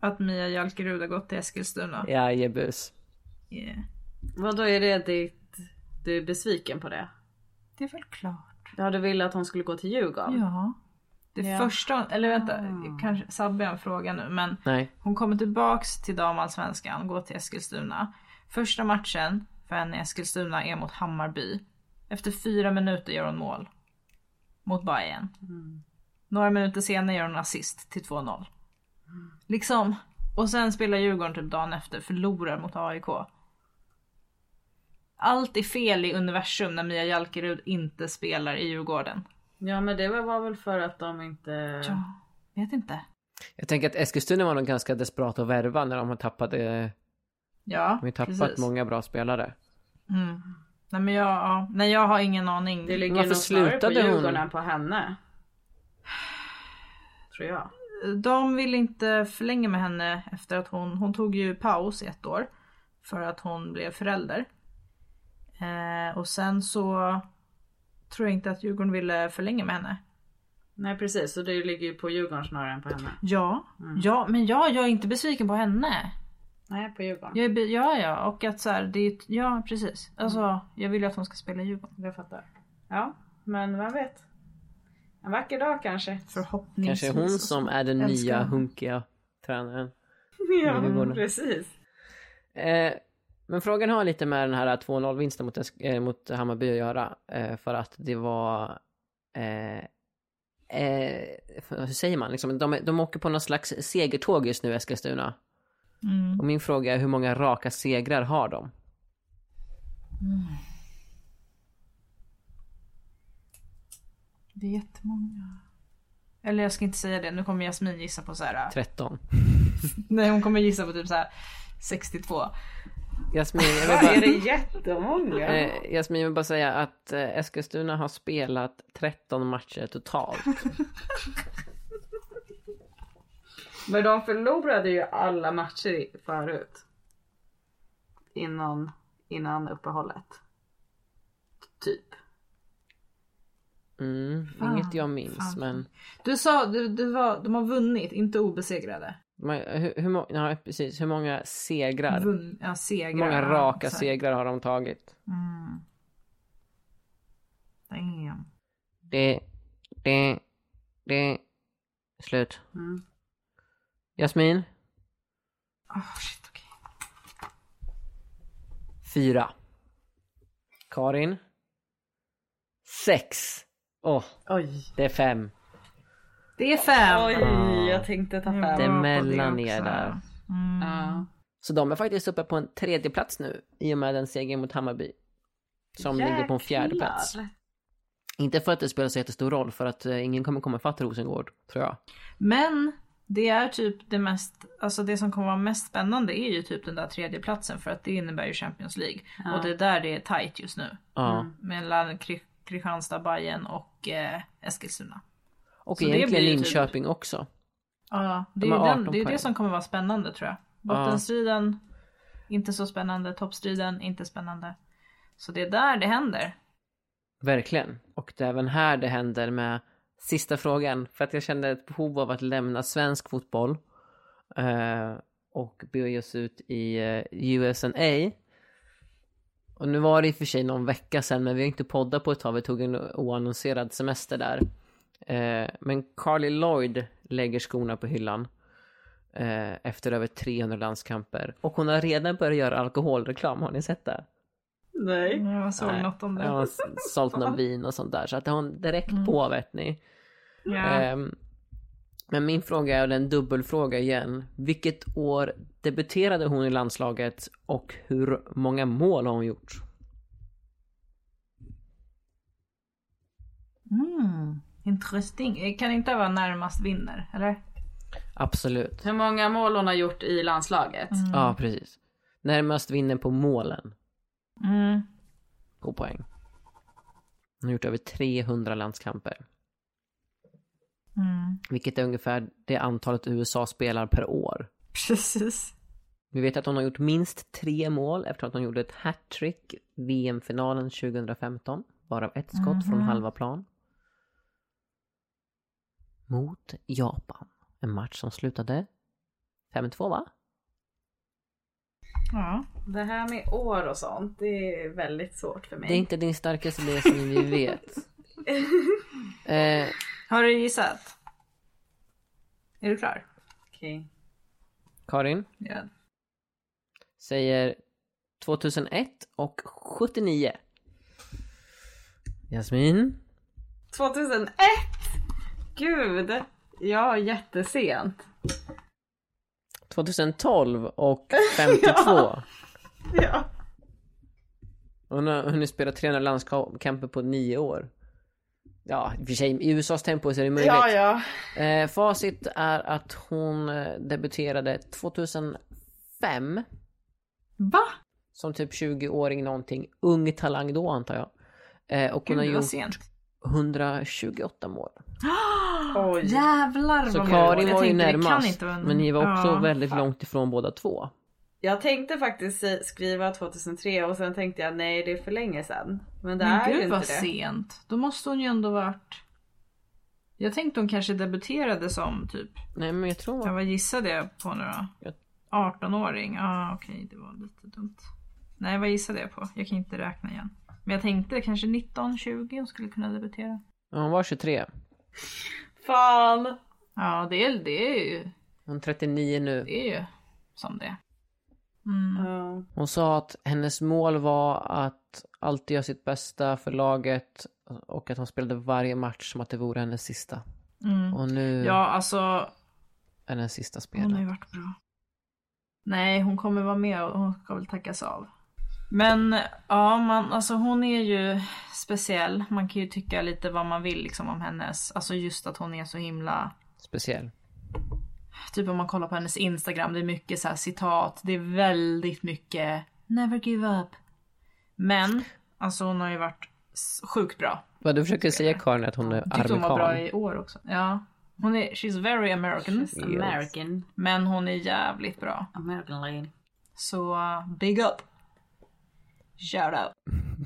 Att Mia Jalkerud har gått till Eskilstuna?
ja, jebus.
Yeah.
Vadå är det ditt... Du är besviken på det?
Det är väl klart.
Ja, du ville att hon skulle gå till Djurgården?
Ja. Mm. Det
Ja.
första, eller vänta, kanske sabbar jag en fråga nu men
Nej.
hon kommer tillbaks till damallsvenskan, går till Eskilstuna. Första matchen för henne i Eskilstuna är mot Hammarby. Efter fyra minuter gör hon mål. Mot Bayern. Några minuter senare gör hon assist till 2-0. Liksom. Och sen spelar Djurgården typ dagen efter, förlorar mot AIK. Allt är fel i universum när Mia Jalkerud inte spelar i Djurgården.
Ja, men det var väl för att de inte...
Ja, vet inte.
Jag tänker att Eskilstuna var nog ganska desperat att värva när de har tappat, eh, de
Ja,
har ju tappat
precis.
många bra spelare.
Mm. Nej men jag, ja. Nej, jag har ingen aning.
Det ligger
Varför
nog snarare på
slutade hon?
Djurgården än på henne. Tror jag.
De vill inte förlänga med henne efter att hon, hon tog ju paus i ett år. För att hon blev förälder. Eh, och sen så tror jag inte att Djurgården ville förlänga med henne.
Nej precis, så det ligger ju på Djurgården snarare än på henne.
Ja, Mm. ja men ja, jag är inte besviken på henne.
Nej, på Djurgården.
Jag är, be- ja, ja, och att så här, det är, ett- ja precis. Alltså, jag vill ju att hon ska spela i Djurgården.
Jag fattar. Ja, men vem vet? En vacker dag kanske.
Förhoppningsvis.
Kanske hon som är den
Älskar
nya
henne.
hunkiga tränaren.
Ja,
Djurgården.
precis.
Eh, men frågan har lite med den här 2-0 vinsten mot, Esk- eh, mot Hammarby att göra. Eh, för att det var... Eh, eh, hur säger man? Liksom, de, de åker på någon slags segertåg just nu Eskilstuna.
Mm.
Och min fråga är hur många raka segrar har de?
Det är jättemånga. Eller jag ska inte säga det, nu kommer Jasmin gissa på så här. äh,
13.
Nej hon kommer gissa på typ så här 62.
Jasmin, jag vill bara...
Är det jättemånga?
Eh, Jasmin, jag vill bara säga att eh, Eskilstuna har spelat 13 matcher totalt.
Men de förlorade ju alla matcher i- förut. Innan, innan uppehållet. Typ.
Mm, inget jag minns,
fan.
men...
Du sa, du, du var, de har vunnit, inte obesegrade.
Man, hur, hur, må- ja, precis, hur många segrar?
Vunn, ja, segrar.
Hur många raka
Så-
segrar har de tagit?
Mm. Damn.
Det, det, det... Slut.
Mm.
Jasmin?
Oh, shit, okej.
Fyra. Karin? Sex. Åh,
Oj.
det är fem.
Det är fem.
Oj, jag tänkte ta
Jag var
fem.
Det är
på
mellan
också.
er där.
Mm.
Ja.
Så de är faktiskt uppe på en tredje plats nu i och med den segern mot Hammarby. Som ligger på en fjärde
Jäklar.
plats. Inte för att det spelar så jättestor roll för att eh, ingen kommer komma ifatt Rosengård, tror jag.
Men det är typ det mest, alltså det som kommer vara mest spännande är ju typ den där tredje platsen för att det innebär ju Champions League. Och det är där det är tight just nu.
Ja.
Mm. Mellan Kri- Kristianstad, Bayern och eh, Eskilstuna.
Och
Så det blir
egentligen
ju typ-
Linköping också.
Ja, det är
De
ju
har
den,
18
det, är ju
poäng.
det som kommer vara spännande tror jag. Bottenstriden, inte så spännande. Toppstriden, inte spännande. Så det är där det händer.
Verkligen. Och det är även här det händer med sista frågan. För att jag kände ett behov av att lämna svensk fotboll. eh, och bege oss ut i eh, USA. Och nu var det i och för sig någon vecka sedan men vi har inte poddat på ett tag. Vi tog en oannonserad semester där. Eh, men Carly Lloyd lägger skorna på hyllan. eh, efter över 300 landskamper. Och hon har redan börjat göra alkoholreklam, har ni sett det?
Nej.
Jag såg
Nej.
något om
Hon
det.
har s- sålt någon vin och sånt där, så att hon direkt på vet ni.
Mm. Ja.
Ehm, men min fråga är, eller en dubbelfråga igen. Vilket år debuterade hon i landslaget och hur många mål har hon gjort?
Mm. Interesting. Eh, Kan det inte vara närmast vinner? Eller? Mm.
Absolut.
Hur många mål hon har gjort i landslaget?
Ja, precis. Närmast vinner på målen
Mm.
på poäng. Hon har gjort över 300 landskamper.
Mm.
Vilket är ungefär det antalet USA spelar per år.
Precis.
Vi vet att hon har gjort minst tre mål efter att hon gjorde ett hattrick VM-finalen 2015. Varav ett skott från halva plan. Mot Japan. En match som slutade 5-2 va?
Ja.
Det här med år och sånt, det är väldigt svårt för mig.
Det är inte din starkaste läsning vi vet. eh,
Har du gissat? Är du klar?
Okej.
Karin
Ja.
säger 2001 och 79. Jasmin?
2001! Gud! Ja, jättesent.
2012 och 52.
Ja.
Hon har hunnit spela 300 landskamper på nio år. Ja, i och för sig, i USAs tempo så är det möjligt.
Ja, ja.
Eh, facit är att hon eh, debuterade 2005
Va?
som typ 20-åring någonting. Ung talang då antar jag. Eh, och hon har
Gud vad
gjort
sent.
128 mål.
Oj.
Jävlar vad
Så
många år.
Karin
Jag
var ju
tänkte, det kan
närmast.
inte vara-
Men ni var också
Ja.
väldigt långt ifrån båda två.
Jag tänkte faktiskt eh, skriva 2003 och sen tänkte jag nej, det är för länge sedan. Men det är
Men
ju
gud
inte det.
vad sent. Då måste hon ju ändå varit... Jag tänkte hon kanske debuterade som typ...
Nej men jag
Ja,
tror...
vad gissade jag på nu då?
Jag-
18-åring? Ja ah, okej det var lite dumt. Nej vad gissade jag på? Jag kan inte räkna igen. Men jag tänkte kanske 19-20 hon skulle kunna debutera.
Hon var 23.
Fan!
Ja det är, det är, ju,
Hon är 39 nu.
det är ju som det är. mm.
Ja.
Hon sa att hennes mål var att alltid göra sitt bästa för laget och att hon spelade varje match som att det vore hennes sista.
Mm.
Och nu
Ja alltså
är den sista
hon har ju
spelad.
varit bra. Nej hon kommer vara med och hon ska väl tackas av. Men ja, man, alltså hon är ju speciell. Man kan ju tycka lite vad man vill liksom, om hennes, alltså just att hon är så himla
Speciell.
Typ om man kollar på hennes Instagram, det är mycket så här citat, det är väldigt mycket never give up. Men, alltså hon har ju varit s- sjukt bra.
Vad du försöker säga Karin är att hon är
Tyckte hon var bra
amerikan.
i år också. Ja. Hon är, she's very American.
American.
Men hon är jävligt bra.
American lady.
Så uh, big up. Shout out.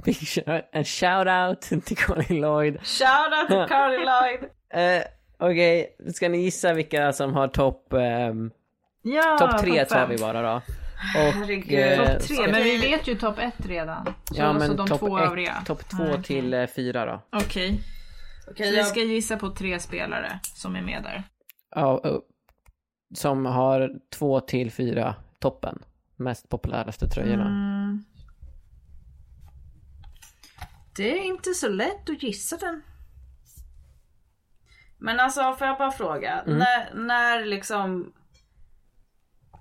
Big shout- En shout-out till Karin Lloyd.
Shoutout till Carly Lloyd!
Eh, Okej, ska ni gissa vilka som har topp... ehm,
Ja,
topp tre
topp
tar
fem.
vi bara då. Och, eh,
Topp tre,
ska-
men vi vet ju topp ett redan. Så,
Ja
så
men
de
topp
två övriga.
ett, topp två
okej.
till eh, fyra då.
Okej,
Okej,
vi
jag
ska gissa på tre spelare som är med där.
Ja, och- som har två till fyra toppen. Mest populäraste tröjorna.
Mm. Det är inte så lätt att gissa den.
Men alltså får jag bara fråga.
Mm.
När, när liksom.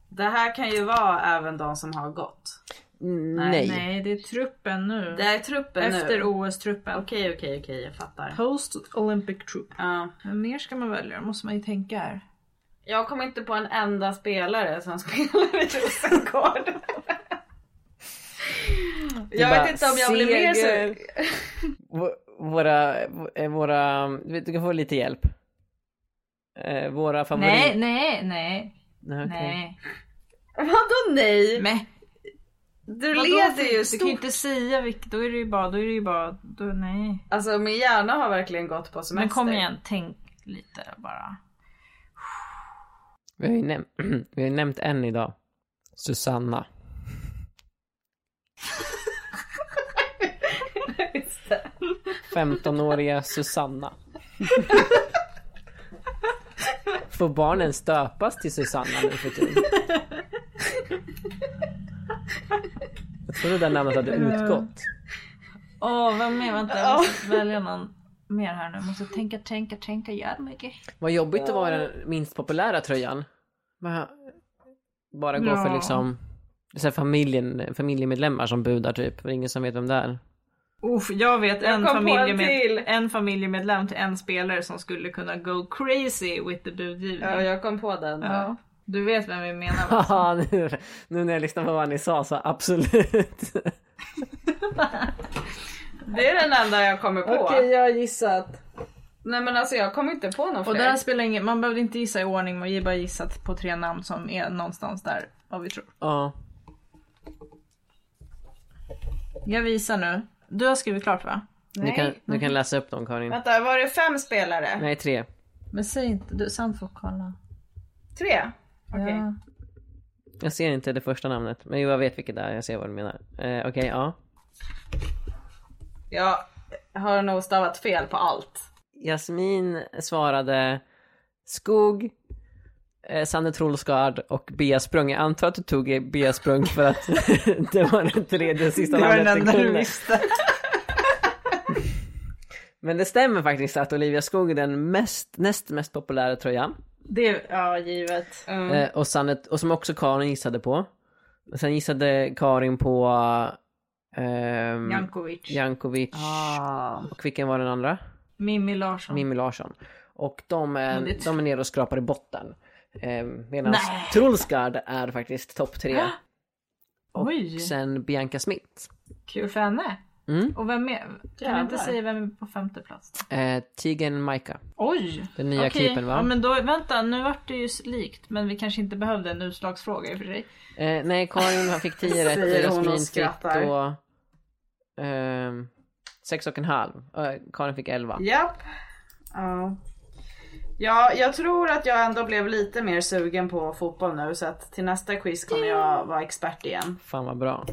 Det här kan ju vara även de som har gått.
Mm,
nej.
Nej.
Nej, det är truppen nu.
Det är truppen
Efter
nu.
OS-truppen.
Okej okej okej jag fattar.
Post Olympic trupp.
Ja.
Men mer ska man välja, då måste man ju tänka här.
jag kom inte på en enda spelare som spelar i Rosengård. jag
bara,
vet inte om jag blir mer
seger.
sur.
V- Våra, eh, våra, du vet, du kan få lite hjälp. Eh, våra favorit...
Nej, nej, nej,
Nej, okej.
nej.
Vadå nej?
Men
Du
vadå
leder
för-
ju
Du kan ju
stort.
inte säga vilket, då är det ju bara, då är det ju bara, då, nej.
Alltså min hjärna har verkligen gått på semester.
Men kom igen, tänk lite bara.
Vi, har ju näm- vi har ju nämnt en idag. Susanna.
Just det.
15-åriga Susanna. Får barnen stöpas till Susanna nu för tiden? Jag trodde det där namnet hade utgått.
Åh, vem mer? Vänta, jag måste välja någon mer här nu. Måste tänka, tänka, tänka jättemycket.
Vad jobbigt att vara den minst populära tröjan. Bara- Bara gå för
Ja.
liksom så här familjen, familjemedlemmar som budar typ. Det är ingen som vet vem det är.
Uff, jag vet
kom
en,
på
familjemed-
en till.
en familjemedlem till en spelare som skulle kunna go crazy with the budgivning.
Ja, jag kom på den.
Ja. Du vet vem vi menar va?
Haha, nu, nu när jag lyssnar på vad ni sa så absolut.
Det är den enda jag kommer på.
jag har gissat.
Nej men alltså jag kommer inte på någon
Och
fler.
där spelar ingen, man behövde inte gissa i ordning, man har bara gissat på tre namn som är någonstans där, vad vi tror.
Ja.
Jag visar nu. Du har skrivit klart va?
Du kan, du kan läsa upp dem Karin.
Vänta, var det fem spelare?
Nej, tre.
Men säg inte, du, Sam får kolla.
Tre? Okej.
Ja.
Jag ser inte det första namnet. Men jo, jag vet vilket det är. Jag ser vad du menar. Eh, Okej, ja.
Jag har nog stavat fel på allt.
Jasmin svarade Skog, eh, Sander Trollsgard och Bea Sprung. Jag antar att du tog Bea Sprung för att det var det tredje och sista
Det var den
namnet
enda
du
du
kunde.
visste.
Men det stämmer faktiskt att Olivia Skog är den mest, näst mest populära tröjan.
Det, ja givet.
Eh, och, Sannet, och som också Karin gissade på. Och sen gissade Karin på ehm,
Jankovic. Ah.
Jankovic. Och vilken var den andra?
Mimmi Larsson.
Mimmi Larsson. Och de är,
Men det-
de är nere och skrapar i botten. Eh, Medan
Nej.
Trollsgard är faktiskt topp tre.
Oj,
Sen Bianca Smith.
kul för henne.
Mm.
Och vem är, kan vi inte säga vem är på femte plats?
Eh, Tigen Maika.
Oj!
Den nya
Okej.
keepern, va?
Ja men då, vänta nu vart det ju likt men vi kanske inte behövde en utslagsfråga i och för sig.
Eh, nej, Karin han fick 10 rätt och
Säger hon och
Jasmin fick
skrattar.
då ehm, sex och en halv. Eh, Karin fick 11.
Japp. Ja. Ja, jag tror att jag ändå blev lite mer sugen på fotboll nu så att till nästa quiz kommer jag vara expert igen.
Fan vad bra.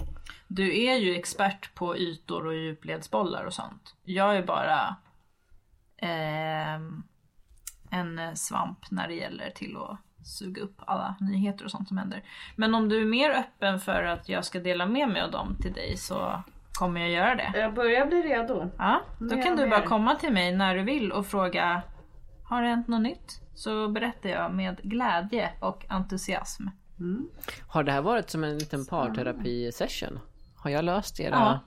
Du är ju expert på ytor och djupledsbollar och sånt. Jag är bara ehm, en svamp när det gäller till att suga upp alla nyheter och sånt som händer. Men om du är mer öppen för att jag ska dela med mig av dem till dig så kommer jag göra det.
Jag börjar bli redo.
Ja, då
Mer
kan
och
du bara
mer.
komma till mig när du vill och fråga Har det hänt något nytt? Så berättar jag med glädje och entusiasm.
Har det här varit som en liten parterapi-session? Har jag löst era
Ja,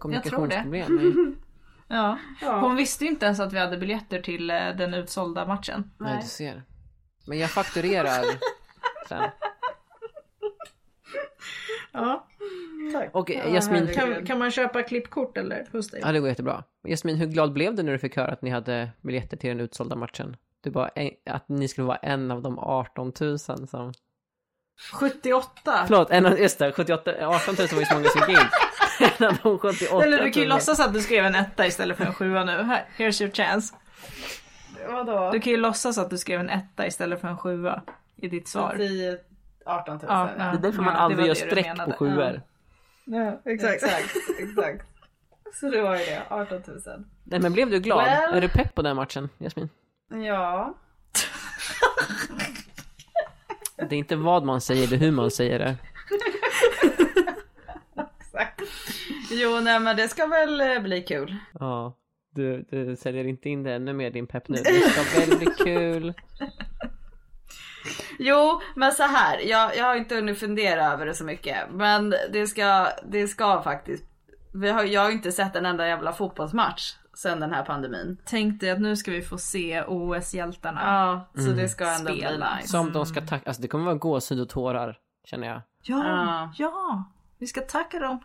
kommunikationsproblem? Nej,
Ja. Hon visste ju inte ens att vi hade biljetter till eh, den utsålda matchen.
Nej, du ser. Men jag fakturerar sen.
Ja.
Och eh, Jasmin,
Kan, kan man köpa klippkort eller hos dig?
Ja, det går jättebra. Jasmin, hur glad blev du när du fick höra att ni hade biljetter till den utsålda matchen? Du bara, en, att ni skulle vara en av de 18 000 som...
78!
Förlåt, en av, just det, 78, 18 000 var ju så många som gick in. En av de 78
Eller du kan
000.
ju låtsas att du skrev en etta istället för en sjua nu. Här, here's your chance.
Vadå?
Du kan ju låtsas att du skrev en etta istället för en sjua i ditt svar.
10, 18 000.
Ja,
Det
ja.
är därför
Ja,
man
det
aldrig
var
gör
det du
streck
menade.
på sjuor.
Ja,
Exakt. exakt, exakt. Så det var ju det, 18 000.
Nej men blev du glad?
Well-
Är du pepp på den matchen, Jasmin?
Ja.
Det är inte vad man säger, det är hur man säger det.
Jo, nej men det ska väl eh, bli kul.
Ja, du, du säljer inte in det ännu mer din pepp nu. Det ska väl bli kul.
Jo, men så här. Jag, jag har inte hunnit fundera över det så mycket. Men det ska, det ska faktiskt. Vi har, jag har inte sett en enda jävla fotbollsmatch sen den här pandemin.
Tänk dig att nu ska vi få se OS-hjältarna.
Ja, så
Mm.
det ska ändå bli
Spela.
nice.
Som de ska tacka, alltså det kommer vara gåshud och tårar känner jag.
Ja,
Ja.
ja. Vi ska tacka dem.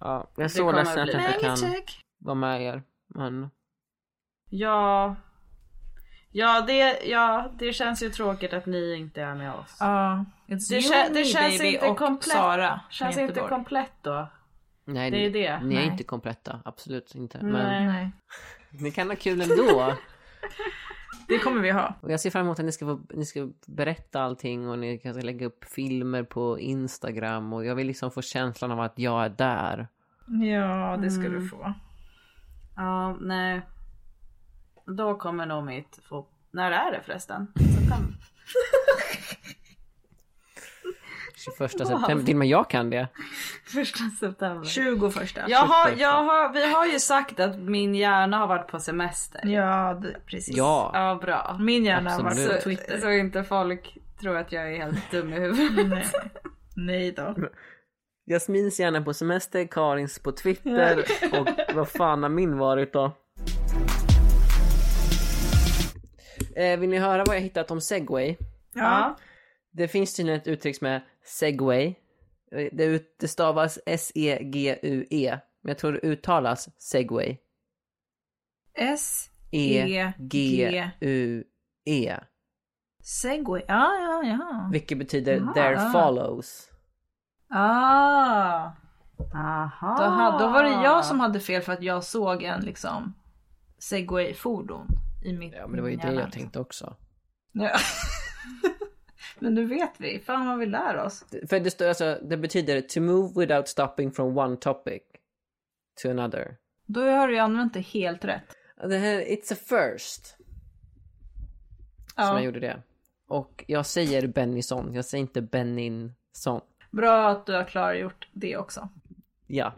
Ja, jag är så
kommer
ledsen att
bli-
jag inte kan
Check.
vara med er. Men
Ja. Ja det, ja, det känns ju tråkigt att ni inte är med oss.
Ja. It's
Det
you
kä-
and
det
me,
känns
baby,
inte
och
komplett.
Sara från
känns inte
Göteborg.
komplett då.
nej,
Det är
ni-
det.
ni är
Nej.
inte kompletta. Absolut inte. Men
Nej.
Nej.
ni kan ha kul ändå.
Det kommer vi ha.
Och jag ser fram emot att ni ska, få, ni ska berätta allting och ni kan lägga upp filmer på Instagram och jag vill liksom få känslan av att jag är där.
Ja, det ska du få.
Ja, nej. Då kommer nog mitt fot... När är det förresten? September?
21 september. Till och med jag kan det.
Första september.
21.
Jag har, jag har, vi har ju sagt att min hjärna har varit på semester.
Ja, det, precis.
Ja.
Ja, bra.
Min hjärna har varit
Absolut.
på
Så,
Twitter.
så inte folk tror att jag är helt dum i huvudet.
Nej. Nej då.
Jasmins hjärna på semester, Karins på Twitter och vad fan har min varit då? Eh, vill ni höra vad jag hittat om segway?
Ja.
Det finns tydligen ett uttryck som är segway. Eh, Det, ut, det stavas E S-E-G-U-E. Men jag tror det uttalas segway.
S. E, G.
E-G-U-E.
Segway. Ja, ja, ja.
E, Vilket betyder
Ah.
there follows.
Ah.
Aha.
Då, ha, då var det jag som hade fel för att jag såg en liksom segway-fordon i mitt
Ja men det var ju
min
det
hjärna.
jag tänkte också.
Ja. men nu vet vi. Fan vad vi lär oss.
För det, står, alltså, det betyder to move without stopping from one topic to another.
Då har du ju använt det helt rätt.
Det här, it's a first. Som jag
Ja.
gjorde det. Och jag säger Bennison, jag säger inte Benninson.
Bra att du har klargjort det också.
Ja.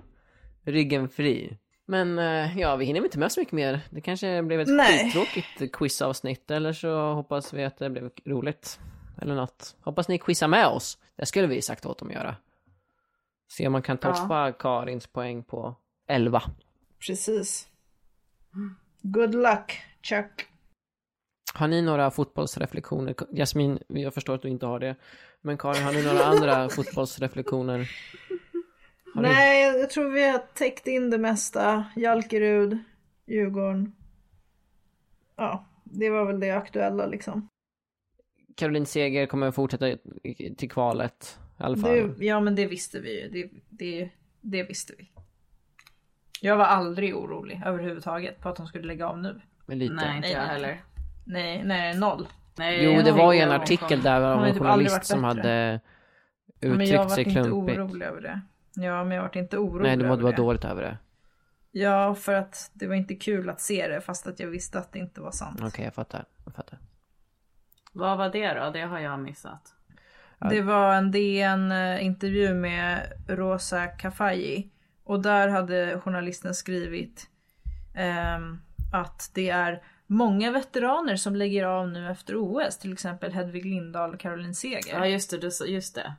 Ryggen fri. Men eh, ja, vi hinner inte med så mycket mer. Det kanske blev ett
Nej.
skittråkigt quizavsnitt eller så hoppas vi att det blev roligt. Eller något. Hoppas ni quizar med oss. Det skulle vi sagt åt dem att göra. Se om man kan toppa Karins poäng på 11.
Precis. Good luck Chuck.
Har ni några fotbollsreflektioner? Jasmin, jag förstår att du inte har det. Men Karin, har ni några andra fotbollsreflektioner? Har ni-
Nej, jag tror vi har täckt in det mesta. Jalkerud, Djurgården. Ja, det var väl det aktuella liksom.
Caroline Seger kommer fortsätta i- till kvalet i alla fall.
Det, ja men det visste vi ju. Det, det, det visste vi. Jag var aldrig orolig överhuvudtaget på att de skulle lägga av nu.
Men lite.
Nej, inte jag
Nej.
heller.
Nej, nej noll.
Nej,
Jo, det
jag
var ju en
tänker om-
artikel där
har
av
ju
en
typ aldrig
journalist som
varit
hade
men jag
uttryckt
var
sig
inte
klumpigt.
orolig över det. Ja men jag var inte orolig
Nej, du mådde
över
vara
det.
dåligt över det.
Ja för att det var inte kul att se det fast att jag visste att det inte var sant.
Okej, jag fattar. Jag fattar.
Vad var det då? Det har jag missat.
Det var en DN-intervju med Rosa Kafaji och där hade journalisten skrivit ehm, att det är många veteraner som lägger av nu efter OS, till exempel Hedvig Lindahl och Caroline Seger.
Ja, just det. du sa- Just det.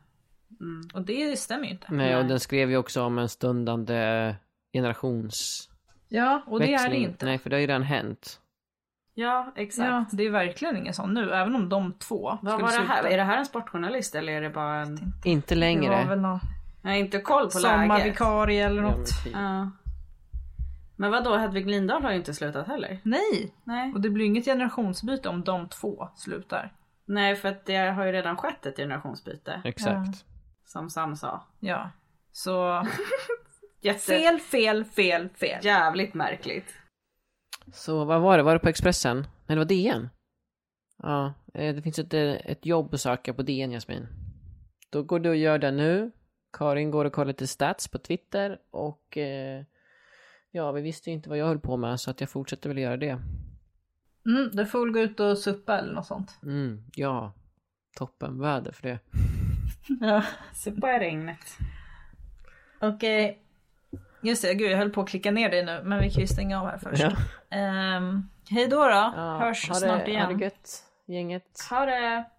Och det stämmer ju inte.
Mm.
Nej, och den skrev ju också om en stundande generationsväxling.
Ja, och det är det inte.
Nej, för det har ju redan hänt.
Ja, exakt.
Ja, det är verkligen ingen sån nu, även om de två
Vad
skulle
var det här?
sluta.
Är det här en sportjournalist eller är det bara en...
Inte
Det
längre.
var väl någon
Jag har inte koll på läget.
sommarvikarie eller
Ja, men
något.
typ.
Ja. Men vad då Hedvig Lindahl har ju inte slutat heller.
Nej,
Nej.
och det blir inget generationsbyte om de två slutar.
Nej, för att det har ju redan skett ett generationsbyte.
Exakt.
Som Sam sa.
Ja, så
Jätte...
Fel, fel, fel, fel.
Jävligt märkligt.
Så vad var det? Var det på Expressen? Nej, det var DN. Ja, eh, det finns ett, eh, ett jobb att söka på DN, Jasmin. Då går du och gör det nu. Karin går och kollar lite stats på Twitter och eh, ja, vi visste ju inte vad jag höll på med så att jag fortsätter väl göra det.
Mm, du får väl gå ut och suppa eller något sånt.
Mm, ja. Toppen väder för det.
Ja.
Supa i regnet.
Okej. eh, Just det, gud jag höll på att klicka ner dig nu men vi kan ju stänga av här först.
Ja.
Ehm, hej då då,
Ja,
hörs
ha det,
snart
Ha det
igen.
gött, gänget.
Ha det!